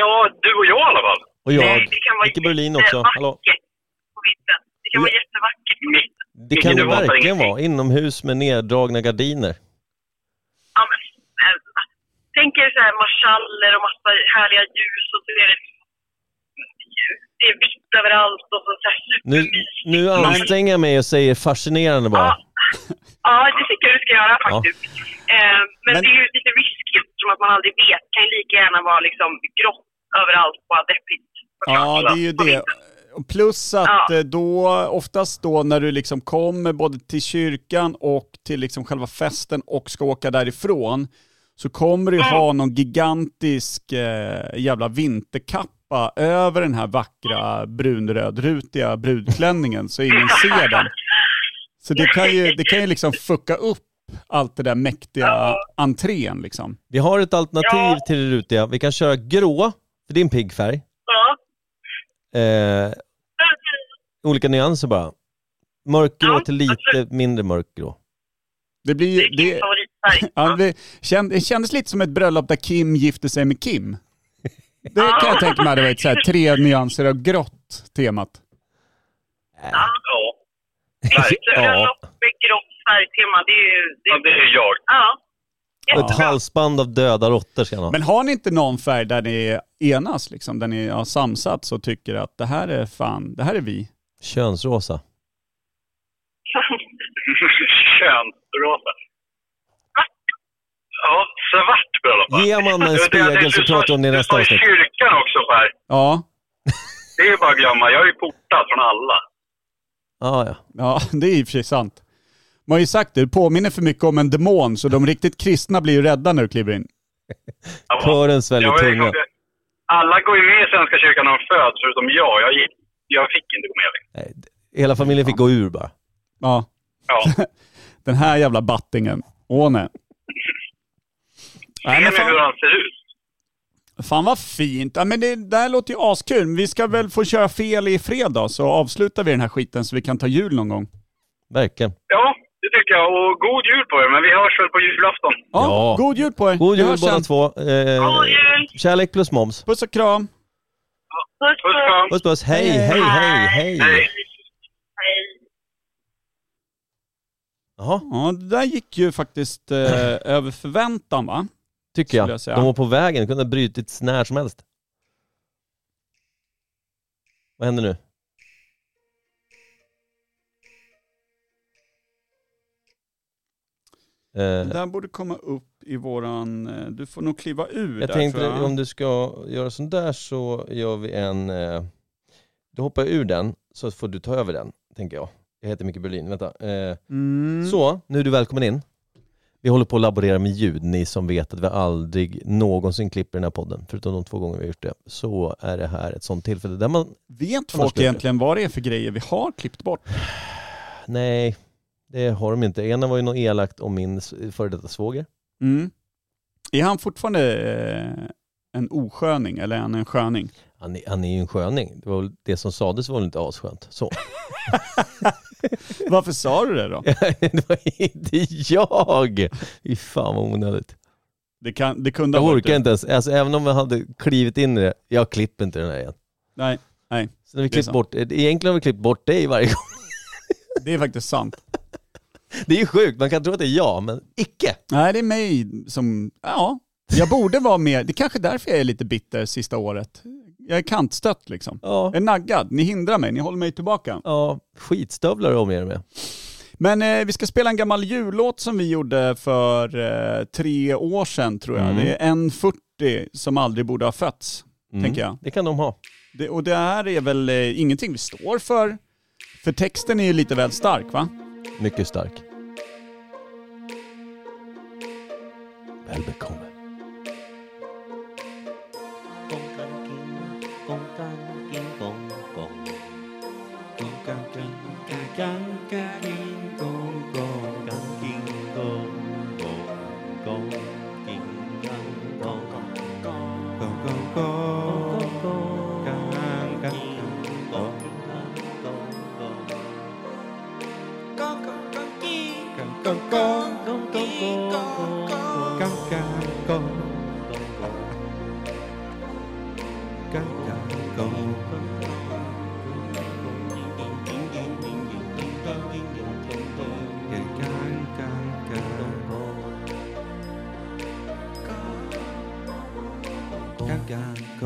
S4: Ja, du och jag i alla fall.
S2: Och
S5: Nej,
S2: jag,
S5: det kan vara
S2: Micke Berlin också. Hallå.
S5: jättevackert på vintern. Det kan vara jättevackert på vintern.
S2: Det kan det
S4: Vilken du hatar
S2: verkligen
S4: ingenting.
S2: vara. Inomhus med neddragna gardiner.
S5: Ja, men snälla. Tänk er så här marschaller och massa härliga ljus och så är det det är vitt överallt och så, så här
S2: Nu,
S5: supermysigt.
S2: nu anstränger jag mig och säger fascinerande bara.
S5: Ja, Ja, det tycker jag du ska göra faktiskt. Eh, men,
S1: Men-
S5: det är ju lite riskigt eftersom att man aldrig vet. Det kan ju lika gärna vara liksom grått överallt, Alltså, bara deppigt.
S1: Ja, det är ju
S5: Man
S1: det.
S5: vet.
S1: Plus att
S5: Ja.
S1: eh, då, oftast då när du liksom kommer både till kyrkan och till liksom själva festen och ska åka därifrån, så kommer du
S5: Mm.
S1: ha någon gigantisk eh, jävla vinterkappa över den här vackra brunrödrutiga brudklänningen så ingen ser den. Så det kan ju, det kan ju liksom fucka upp allt det där mäktiga entrén liksom.
S2: Vi har ett alternativ
S5: Ja.
S2: till det rutiga. Vi kan köra grå, för det är en pigg färg.
S5: Ja.
S2: Eh, olika nyanser bara. Mörkgrå
S5: Ja,
S2: till lite mindre mörkgrå.
S1: Det blir
S5: Det
S1: ju...
S5: är din
S1: Det,
S5: favoritfärg.
S1: Ja, det, känd, det kändes lite som ett bröllop där Kim gifte sig med Kim. Det kan jag tänka mig hade varit så här, tre nyanser av grått temat.
S4: Ja.
S5: Bröllop med grått färgtema, det är ju... Det
S4: ja, det är jag.
S5: Ja.
S2: Och ett halsband av döda råttor ska han ha.
S1: Men har ni inte någon färg där ni enas, liksom, där ni har samsats och tycker att det här är fan, det här är vi?
S2: Könsrosa.
S4: Könsrosa. Ja, svart bröllop va?
S2: Ge Amanda en
S4: Du, det-
S2: spegel
S4: det-
S2: så
S4: du sa-
S2: pratar vi om det i
S4: du
S2: nästa
S4: sa
S2: avsnitt.
S4: kyrkan också Per.
S1: Ja,
S4: Det är ju bara att glömma. Jag är ju portad från alla.
S2: Ah, ja.
S1: ja det är i och för sig sant. Man har ju sagt det, du påminner för mycket om en demon så de riktigt kristna blir ju rädda när du kliver in.
S4: Ja.
S2: Kören sväljer
S4: Jag var ju-
S2: tunga.
S4: Alla går ju med i Svenska kyrkan när de föds, förutom jag. Jag, gick, jag fick inte gå med längre.
S2: Nej, Hela familjen fick gå ur bara.
S1: Ja,
S4: Ja.
S1: den här jävla battingen. Åh nej. Nej,
S4: Ser
S1: men
S4: ni
S1: fan.
S4: hur han ser ut?
S1: Fan vad fint. Ja, men det, det här låter ju askul. Vi ska väl få köra fel i fredag så avslutar vi den här skiten så vi kan ta jul någon gång.
S2: Verkligen.
S4: Ja, det tycker jag. Och god jul på er, men vi hörs väl på julafton.
S1: Ja,
S2: Ja.
S1: God jul på er.
S2: God
S1: Vi
S2: jul
S1: hörs
S2: båda
S1: sen.
S2: två. Eh,
S5: God jul!
S2: kärlek plus moms.
S1: Puss och kram.
S5: Puss,
S4: Puss kram!
S2: Puss puss. Hej, hej, hej, hej.
S4: Hej.
S5: Hej.
S2: Jaha,
S1: Ja, det där gick ju faktiskt eh, över förväntan va?
S2: tycker
S1: Skulle
S2: jag.
S1: jag säga.
S2: De var på vägen. Kunde ha brutits när som helst. Vad händer nu? Eh, Eh,
S1: Det där borde komma upp i våran... eh, Du får nog kliva ur
S2: Jag
S1: där
S2: tänkte
S1: tror jag.
S2: om du ska göra sån där så gör vi en, eh, du hoppar ur den så får du ta över den, tänker jag. Jag heter Micke Berlin, vänta. Eh,
S1: Mm.
S2: Så, nu är du välkommen in. Vi håller på att laborera med ljud, ni som vet att vi aldrig någonsin klipper den här podden, förutom de två gånger vi har gjort det, så är det här ett sånt tillfälle där man,
S1: Vet
S2: Annars
S1: folk
S2: blir det-
S1: egentligen vad det är för grejer vi har klippt bort?
S2: nej, det har de inte. Ena var ju något elakt om min s- före detta svåger.
S1: Mm. Är han fortfarande eh, en osköning eller är han en sköning?
S2: Han, är- han är ju en sköning, det, var väl, det som sades var väl inte asskönt. Så.
S1: Varför sa du det då?
S2: det var inte jag! Fy fan vad onödigt.
S1: Det, kan, det kunde
S2: Jag
S1: ha varit
S2: orkar
S1: det.
S2: inte ens, alltså, även om jag hade klivit in i det, jag klipper inte den här igen.
S1: Nej, nej.
S2: Så när vi
S1: Det är
S2: klippt
S1: sant.
S2: bort, egentligen har vi klippt bort dig varje gång.
S1: Det är faktiskt sant.
S2: Det är ju sjukt, man kan tro att det är jag, men icke.
S1: Nej, det är mig som... Ja, jag borde vara mer... Det är kanske är därför jag är lite bitter sista året. Jag är kantstött liksom.
S2: Ja,
S1: Jag är naggad. Ni hindrar mig. Ni håller mig tillbaka.
S2: ja skitstövlar du omger dig med.
S1: Men eh, vi ska spela en gammal jullåt som vi gjorde för eh, tre år sedan tror jag.
S2: Mm.
S1: Det är en 40 som aldrig borde ha fötts, tänker jag.
S2: Det kan de ha.
S1: Det, och det här är väl eh, ingenting vi står för. För texten är ju lite väl stark va?
S2: Mycket stark. Väl bekomme.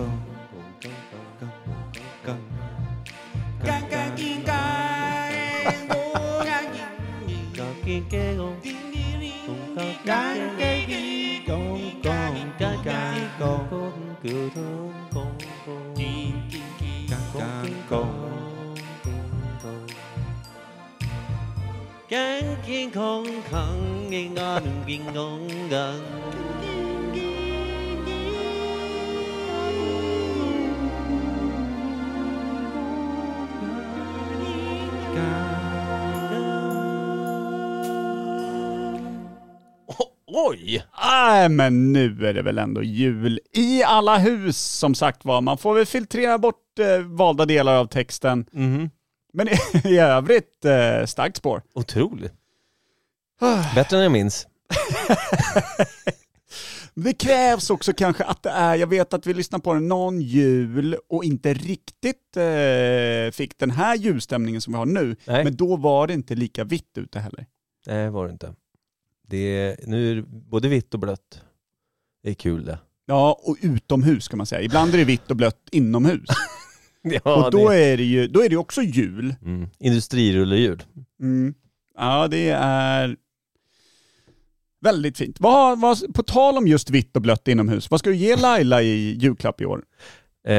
S6: Gang gang gang gang, go gang gang gang. 空空的我们变戆戆。
S2: Oj!
S1: Nej, men nu är det väl ändå jul i alla hus som sagt var. Man får väl filtrera bort eh, valda delar av texten.
S2: Mhm.
S1: Men i, i övrigt, eh, starkt spår. Ah,
S2: Otroligt. Bättre än jag minns.
S1: Det krävs också kanske att det är, jag vet att vi lyssnar på den någon jul och inte riktigt eh, fick den här julstämningen som vi har nu.
S2: Nej.
S1: Men då var det inte lika vitt ute heller.
S2: Nej, var det inte. Det är, nu är det både vitt och blött. Det är kul det.
S1: Ja, och utomhus kan man säga. Ibland är det vitt och blött inomhus.
S2: Ja,
S1: och då
S2: det
S1: är det ju då är det också jul.
S2: mm. Industrirullehjul.
S1: Mm. Ja, det är väldigt fint. Vad, vad, på tal om just vitt och blött inomhus, vad ska du ge Laila i julklapp i år?
S2: Eh,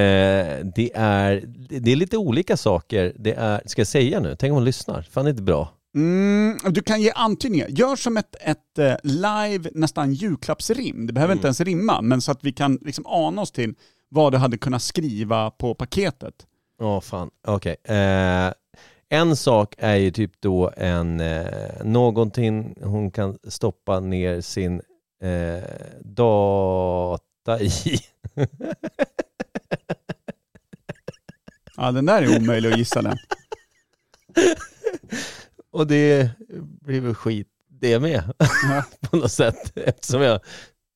S2: det, är, det är lite olika saker. Det är, ska jag säga nu? Tänk om hon lyssnar. Fan, det är inte bra.
S1: Mm, du kan ge antydningar. Gör som ett, ett eh, live, nästan julklappsrim. Det behöver inte ens rimma, men så att vi kan liksom ana oss till vad du hade kunnat skriva på paketet.
S2: Ja, fan. Okej. Eh, en sak är ju typ då en, eh, någonting hon kan stoppa ner sin eh, data i.
S1: Ja, den där är omöjlig att gissa den.
S2: Och det blir väl skit det med på något sätt. Eftersom jag,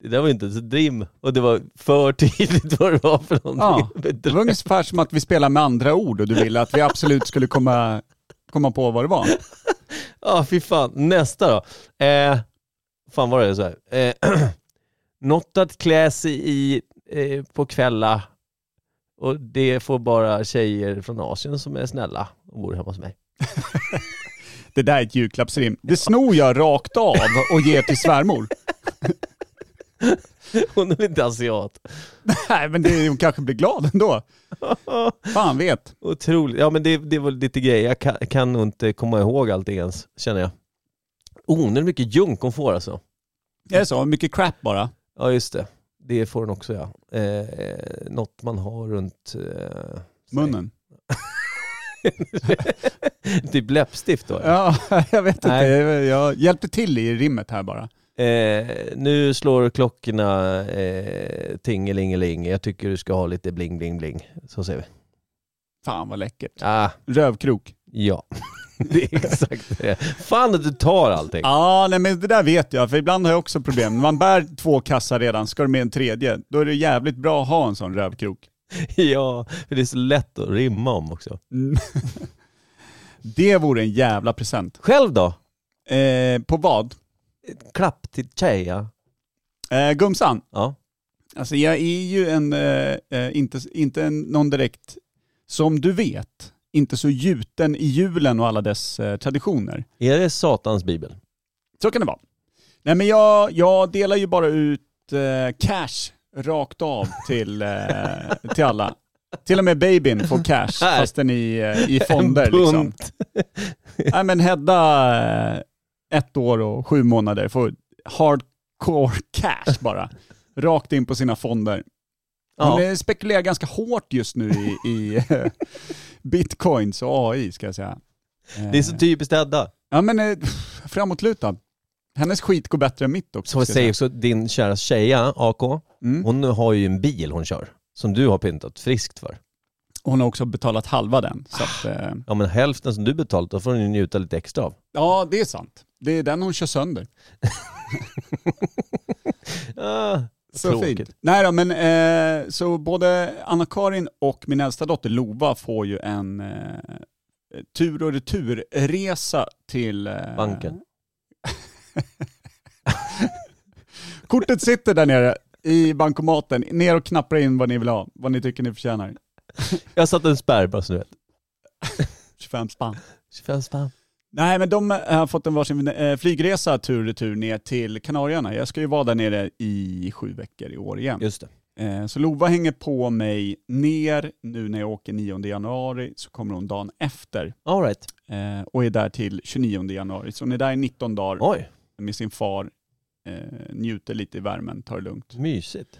S2: det där var ju inte så drim och det var för tydligt vad det var för någonting.
S1: Ja, det var ungefär som att vi spelar med andra ord och du ville att vi absolut skulle komma, komma på vad det var.
S2: Ja, fy fan. Nästa då. Eh, fan var det så här. Eh, något att klä sig i eh, på kvällar och det får bara tjejer från Asien som är snälla och bor hemma hos mig.
S1: Det där är ett julklappsrim. Det snor jag rakt av och ger till svärmor.
S2: Hon är inte asiat.
S1: Nej, men det, hon kanske blir glad ändå. Fan vet.
S2: Otroligt. Ja men det, det var lite grejer. Jag kan, kan nog inte komma ihåg allting ens, känner jag. Onödigt mycket junk hon får alltså.
S1: Det är så, mycket crap bara.
S2: Ja just det. Det får hon också ja. Eh, eh, något man har runt... Eh,
S1: Munnen.
S2: typ läppstift då. ja.
S1: Ja, jag vet inte.
S2: Nej.
S1: Jag, jag hjälpte till i rimmet här bara.
S2: Eh, nu slår klockorna eh, tingelingeling. Jag tycker du ska ha lite bling bling bling. Så säger vi.
S1: Fan vad läckert.
S2: Ah,
S1: Rövkrok.
S2: ja, det är exakt det. Fan att du tar allting.
S1: Ja, nej men det där vet jag, för ibland har jag också problem. Man bär två kassar redan, ska du med en tredje, då är det jävligt bra att ha en sån rövkrok.
S2: Ja, för det är så lätt att rimma om också.
S1: Det vore en jävla present.
S2: Själv då?
S1: Eh, på vad?
S2: Klapp till tjeja.
S1: Eh, gumsan,
S2: Ja.
S1: Alltså jag är ju en, eh, eh, inte, inte en, någon direkt, som du vet, inte så gjuten i julen och alla dess eh, traditioner.
S2: Är det satans bibel?
S1: Så kan det vara. Nej men jag, jag delar ju bara ut eh, cash rakt av till, eh, till alla. Till och med babyn får cash
S2: Här.
S1: fastän i, eh, i fonder
S2: En
S1: liksom.
S2: bunt.
S1: Nej men Hedda, eh, ett år och sju månader, får hardcore cash bara. Rakt in på sina fonder. Hon
S2: Ja.
S1: eh, spekulerar ganska hårt just nu i, i eh, bitcoins och AI ska jag säga. Eh,
S2: Det är så typiskt Edda.
S1: Ja men eh, pff, framåtlutad. Hennes skit går bättre än mitt också.
S2: Som jag
S1: ska
S2: säger
S1: jag
S2: också, din kära tjeja, AK,
S1: Mm.
S2: hon har ju en bil hon kör. Som du har pyntat friskt för.
S1: Hon har också betalat halva den. Så
S2: Ah.
S1: att, eh,
S2: Ja men hälften som du betalat, då får hon ju njuta lite extra av.
S1: ja det är sant. Det är den hon kör sönder.
S2: Ah,
S1: Så fint. Nej då, men eh, så både Anna-Karin och min äldsta dotter Lova får ju en eh, tur och returresa till... Eh,
S2: Banken.
S1: Kortet sitter där nere i bankomaten. Ner och knappra in vad ni vill ha, vad ni tycker ni förtjänar.
S2: Jag satte en spärr bara så du vet.
S1: 25 spann.
S2: 25 spänn.
S1: Nej, men de har fått en varsin eh, flygresa tur och retur ner till Kanarieöarna. Jag ska ju vara där nere i sju veckor i år igen.
S2: Just det.
S1: Eh, Så Lova hänger på mig ner nu när jag åker 9 januari så kommer hon dagen efter
S2: All right.
S1: eh, och är där till 29 januari. Så hon är där i 19 dagar
S2: Oj,
S1: med sin far, eh, njuter lite i värmen, tar det lugnt.
S2: mysigt.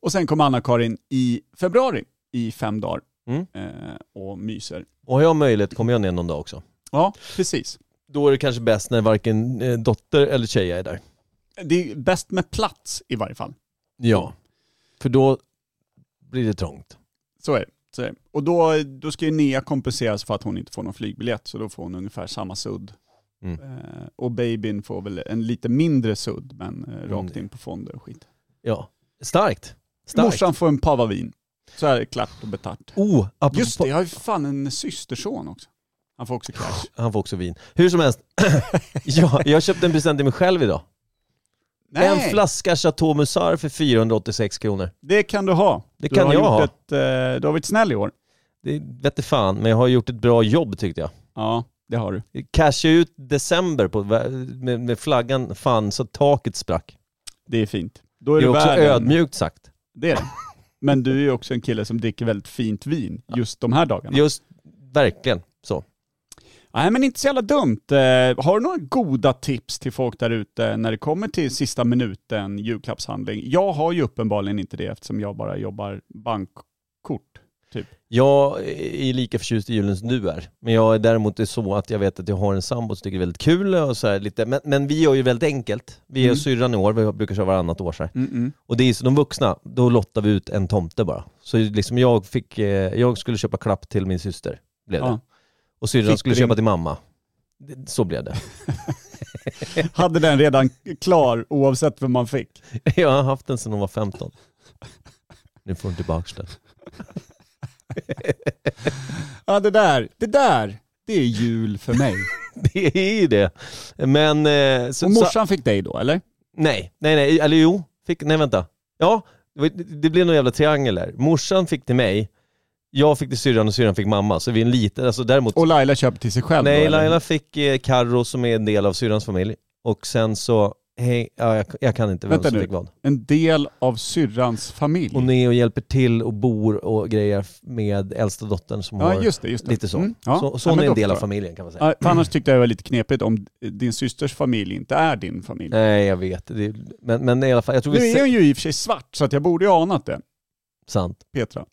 S1: Och sen kommer Anna-Karin i februari i fem dagar
S2: Mm.
S1: eh, och myser.
S2: Och har jag möjlighet kommer jag ner någon dag också.
S1: Ja, precis.
S2: Då är det kanske bäst när varken eh, dotter eller tjej är där.
S1: Det är bäst med plats i varje fall.
S2: Ja. För då blir det trångt.
S1: Så är det. Så är det. Och då, då ska ju Nea kompenseras för att hon inte får någon flygbiljett, så då får hon ungefär samma sudd.
S2: Mm.
S1: Eh, och babyn får väl en lite mindre sudd, men eh, rakt
S2: Mm.
S1: in på fonder och skit.
S2: Ja. Starkt. Starkt.
S1: Morsan får en pavavin. Så är det klart och betart.
S2: Oh, apropå,
S1: Just det, jag har ju fan en systerson också. Han får också cash.
S2: Han får också vin. Hur som helst. ja, jag köpte en present till mig själv idag. En flaska Chateau Musar för 486 kronor.
S1: det kan du ha.
S2: Det
S1: du
S2: kan
S1: har
S2: jag
S1: gjort
S2: ha.
S1: Ett, eh, du har varit snäll i år.
S2: Det vete fan, men jag har gjort ett bra jobb tyckte jag.
S1: Ja, det har du.
S2: Casha ut december på, med, med flaggan fan så taket sprack.
S1: Det är fint. Då
S2: Det
S1: är
S2: är
S1: du
S2: också
S1: värd en-
S2: ödmjukt sagt.
S1: Det är det. Men du är ju också en kille som dricker väldigt fint vin just de här dagarna.
S2: Just, verkligen så.
S1: Nej men inte så jävla dumt. Eh, har du några goda tips till folk där ute när det kommer till sista minuten julklappshandling? Jag har ju uppenbarligen inte det eftersom jag bara jobbar bankkort. Typ.
S2: Jag är lika förtjust i julen som du är. Men jag är däremot det så att jag vet att jag har en sambo som tycker det är väldigt kul och så här lite. Men, men vi gör ju väldigt enkelt. Vi är
S1: Mm.
S2: syrran i år, vi brukar köra varannat år så här.
S1: Mm-mm.
S2: Och det är så de vuxna, då lottar vi ut en tomte bara. Så liksom jag, fick, eh, jag skulle köpa klapp till min syster, blev det.
S1: Ja.
S2: Och syrran
S1: Fick
S2: skulle
S1: du
S2: köpa
S1: din-
S2: till mamma. Det- Så blev det.
S1: Hade den redan klar oavsett vem man fick.
S2: Jag har haft den sedan hon var 15. Nu får hon tillbaka den.
S1: Ja det där, det där, det är jul för mig.
S2: Det är ju det. Men... eh, Så,
S1: Och
S2: så-
S1: morsan fick dig då eller?
S2: Nej, nej, nej, eller jo, fick, nej vänta. Ja, det var- det blev någon jävla triangel där. Morsan fick till mig, jag fick till syrran och syrran fick mamma. Så vi är en liten, alltså däremot...
S1: Och Laila köpte till sig själv då,
S2: nej,
S1: eller?
S2: Laila fick eh, Carro som är en del av syrrans familj. Och sen så, hej, ja, jag, jag kan inte vem
S1: Vänta
S2: som
S1: nu.
S2: fick vad.
S1: En del av syrrans familj.
S2: Hon är och hjälper till och bor och grejer med äldsta dottern som
S1: Ja
S2: har
S1: just det, just det.
S2: lite så.
S1: Mm, ja.
S2: Så, så
S1: Ja,
S2: hon
S1: men
S2: är en
S1: då
S2: del av
S1: förstår jag.
S2: familjen kan man säga.
S1: Ja, för annars tyckte jag det var lite knepigt om din systers familj inte är din familj.
S2: Nej, jag vet. Det, men, men i alla fall, jag tror
S1: Nu
S2: Eh, vi...
S1: är
S2: Är...
S1: hon ju i och för sig svart så att jag borde ju ha anat det,
S2: Sant.
S1: Petra.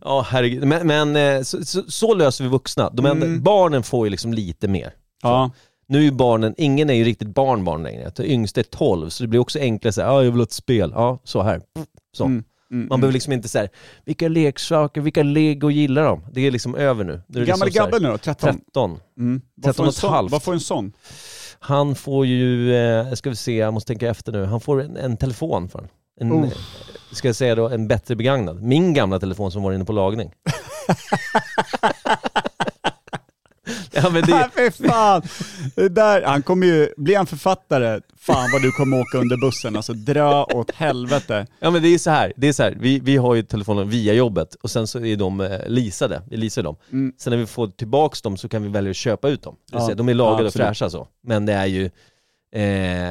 S2: Ja, herregud. Men, men eh, så, så, så löser vi vuxna. De enda,
S1: Mm.
S2: Barnen får ju liksom lite mer.
S1: Ja.
S2: Nu är ju barnen, ingen är ju riktigt barnbarn längre. Den yngsta är 12, så det blir också enklare så här, ja jag vill ha ett spel, ja så här. Så.
S1: Mm, mm,
S2: Man behöver liksom inte så här, vilka leksaker, vilka lego gillar de? Det är liksom över nu. nu är
S1: mm.
S2: det
S1: Gammal
S2: liksom så här,
S1: gabbe nu då, 13.
S2: 13.
S1: Mm. Vad, får
S2: 13 och
S1: en
S2: ett
S1: sån,
S2: halvt.
S1: vad får en sån?
S2: Han får ju, eh, ska vi se, jag måste tänka efter nu, han får en, en telefon för en, en,
S1: Oh.
S2: ska jag säga då, en bättre begagnad. Min gamla telefon som var inne på lagning. ja, men det,
S1: Nej, fy fan! Det där, han kommer ju, blir han författare, fan vad du kommer åka under bussen. Alltså dra åt helvete.
S2: Ja men det är så här, det är så här. Vi, vi har ju telefonen via jobbet och sen så är de eh, leasade, vi leasar dem.
S1: Mm.
S2: Sen när vi får tillbaks dem så kan vi välja att köpa ut dem. Det vill
S1: Ja.
S2: säga, de är lagade
S1: Ja,
S2: och
S1: absolut.
S2: fräscha så. Men det är ju,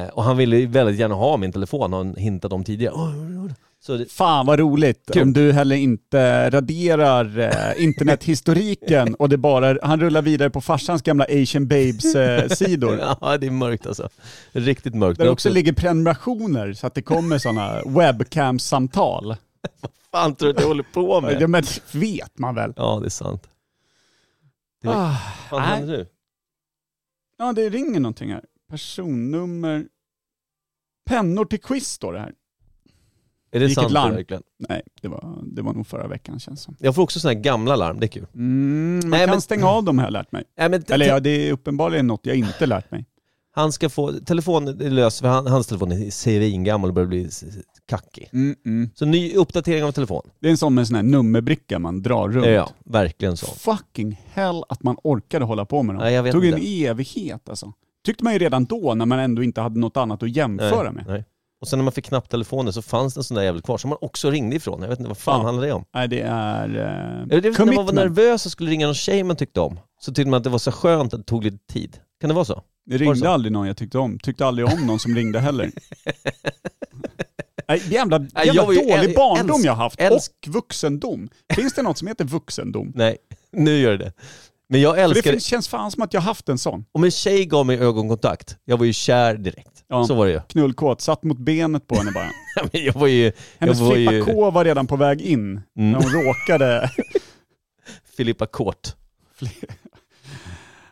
S2: eh, och han ville ju väldigt gärna ha min telefon, har han hintat om tidigare. Åh, åh, åh. Så det,
S1: Fan vad roligt
S2: Kul.
S1: om du heller inte raderar eh, internethistoriken och det bara, han rullar vidare på farsans gamla Asian Babes-sidor.
S2: ja det är mörkt alltså. Riktigt mörkt.
S1: Där
S2: Men
S1: det också ligger prenumerationer så att det kommer sådana webcam-samtal.
S2: fan tror du att jag håller på
S1: Ja,
S2: med?
S1: men vet man väl.
S2: Ja det är sant. Det-
S1: Ah,
S2: Vad
S1: nej.
S2: händer nu?
S1: Ja, det ringer någonting här. Personnummer. Pennor till quiz står det här.
S2: Är det
S1: Gick ett
S2: sant
S1: larm.
S2: verkligen?
S1: Nej, det var, det var nog förra veckan känns som.
S2: Jag får också sådana här gamla larm, det är kul.
S1: Mm, man
S2: Nej,
S1: kan
S2: men-
S1: stänga av dem har jag lärt mig.
S2: Nej, men t-
S1: Eller ja, det är uppenbarligen något jag inte lärt mig.
S2: Han ska få, telefonen är lös för han, hans telefon är svingammal och börjar bli s- s- kackig.
S1: Mm, mm.
S2: Så ny uppdatering av telefon.
S1: Det är en sån med en sån här nummerbricka man drar runt.
S2: Ja, verkligen så.
S1: Fucking hell att man orkade hålla på med dem.
S2: Nej, jag vet
S1: tog
S2: inte.
S1: en evighet alltså. Tyckte man ju redan då när man ändå inte hade något annat att jämföra
S2: Nej,
S1: med.
S2: nej. Och sen när man fick knapptelefoner så fanns det en sån där jävel kvar som man också ringde ifrån. Jag vet inte, vad fan
S1: Ja.
S2: handlade det om?
S1: Nej, det är... Eh,
S2: Eller Det var när man var
S1: commitment.
S2: nervös och skulle ringa någon tjej man tyckte om. Så tyckte man att det var så skönt att det tog lite tid. Kan det vara så?
S1: Det
S2: Var det så?
S1: ringde aldrig någon jag tyckte om. Tyckte aldrig om någon som ringde heller. Nej, jävla
S2: Nej,
S1: jävla
S2: jag var ju
S1: dålig
S2: äl-
S1: barndom
S2: älsk-
S1: jag haft.
S2: älsk-
S1: Och vuxendom. Finns det något som heter vuxendom?
S2: Nej, nu gör det det. Men jag
S1: För det
S2: älskar
S1: finns, känns fan som att jag haft en sån.
S2: Om en tjej gav mig ögonkontakt, jag var ju kär direkt.
S1: Ja.
S2: Så var det ju.
S1: Knullkåt, satt mot benet på henne bara.
S2: Men jag var ju...
S1: Hennes
S2: jag var
S1: Filippa
S2: ju
S1: K var redan på väg in när hon
S2: Mm.
S1: råkade...
S2: Filippa Kort.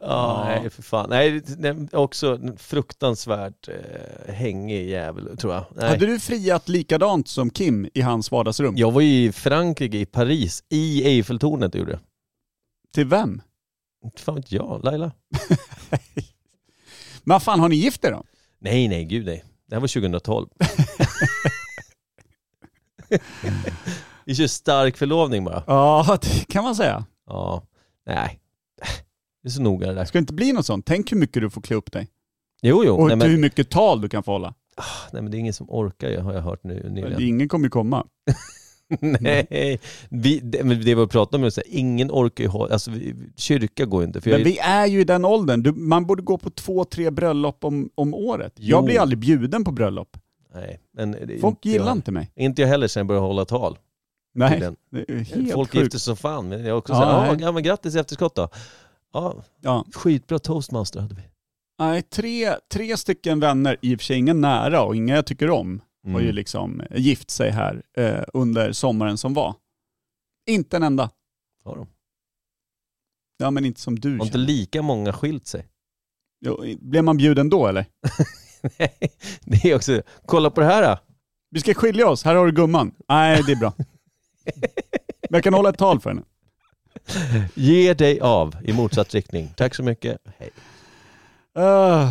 S2: Ja, nej för fan. Nej, nej, också en fruktansvärt eh, hängig jävel tror jag. Nej.
S1: Hade du friat likadant som Kim i hans vardagsrum?
S2: Jag var ju i Frankrike, i Paris, i Eiffeltornet gjorde jag.
S1: Till vem?
S2: Inte fan vet jag, Laila?
S1: Men fan, har ni gift er då?
S2: Nej, nej, gud nej. Det här var 2012. Vi kör stark förlovning bara.
S1: Ja, det kan man säga.
S2: Ja, nej. Det är så noga det där.
S1: Ska det inte bli något sånt? Tänk hur mycket du får klä upp dig.
S2: Jo, jo.
S1: Och
S2: Nej, men,
S1: hur mycket tal du kan få hålla.
S2: nej, men det är ingen som orkar ju, har jag hört nu nyligen.
S1: Ingen kommer ju komma.
S2: nej, vi, det, men det vi pratade om är så här, ingen orkar ju ha, alltså vi, kyrka går ju inte. För jag,
S1: Men vi är ju i den åldern. Du, man borde gå på två, tre bröllop om, om året. Jag
S2: Jo.
S1: blir aldrig bjuden på bröllop.
S2: nej, men det, är
S1: Folk
S2: inte
S1: gillar
S2: jag,
S1: inte mig.
S2: Inte jag heller sen jag började hålla tal.
S1: Nej,
S2: tydligen.
S1: det är helt
S2: Folk
S1: sjukt.
S2: gifter sig som fan, men jag också
S1: Ja,
S2: ja, såhär,
S1: nej.
S2: "Ah, ja men grattis i efterskott då. Ja,
S1: Ja.
S2: skitbra toastmaster hade vi.
S1: Nej, tre, tre stycken vänner, i och för sig inga nära och inga jag tycker om, har ju
S2: Mm.
S1: liksom gift sig här eh, under sommaren som var. Inte en enda.
S2: Har de.
S1: Ja men inte som du
S2: Har inte
S1: känner.
S2: lika många skilt sig?
S1: Jo, i- Blev man bjuden då eller?
S2: Nej, det är också, kolla på det här då.
S1: Vi ska skilja oss, här har du gumman. Nej det är bra. Men jag kan hålla ett tal för henne.
S2: Ge dig av i motsatt riktning. Tack så mycket. Hej.
S1: Ah,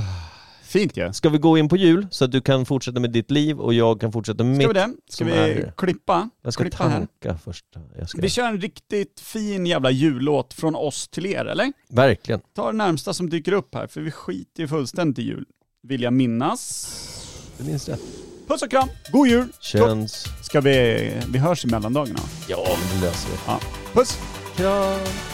S1: fint ju.
S2: Ska vi gå in på jul så att du kan fortsätta med ditt liv och jag kan fortsätta med
S1: Ska vi
S2: mitt?
S1: det? Ska
S2: som
S1: vi
S2: är-
S1: klippa?
S2: Jag ska
S1: klippa här.
S2: tanka först. Jag ska...
S1: Vi kör en riktigt fin jävla jullåt från oss till er eller?
S2: Verkligen.
S1: Ta det närmsta som dyker upp här för vi skiter ju fullständigt i jul. Vill jag minnas.
S2: Du minns rätt.
S1: Puss och kram, god jul!
S2: Känns...
S1: Ska vi... Vi hörs i mellandagarna.
S2: Ja, men det löser vi.
S1: Ja. Puss!
S2: Kram.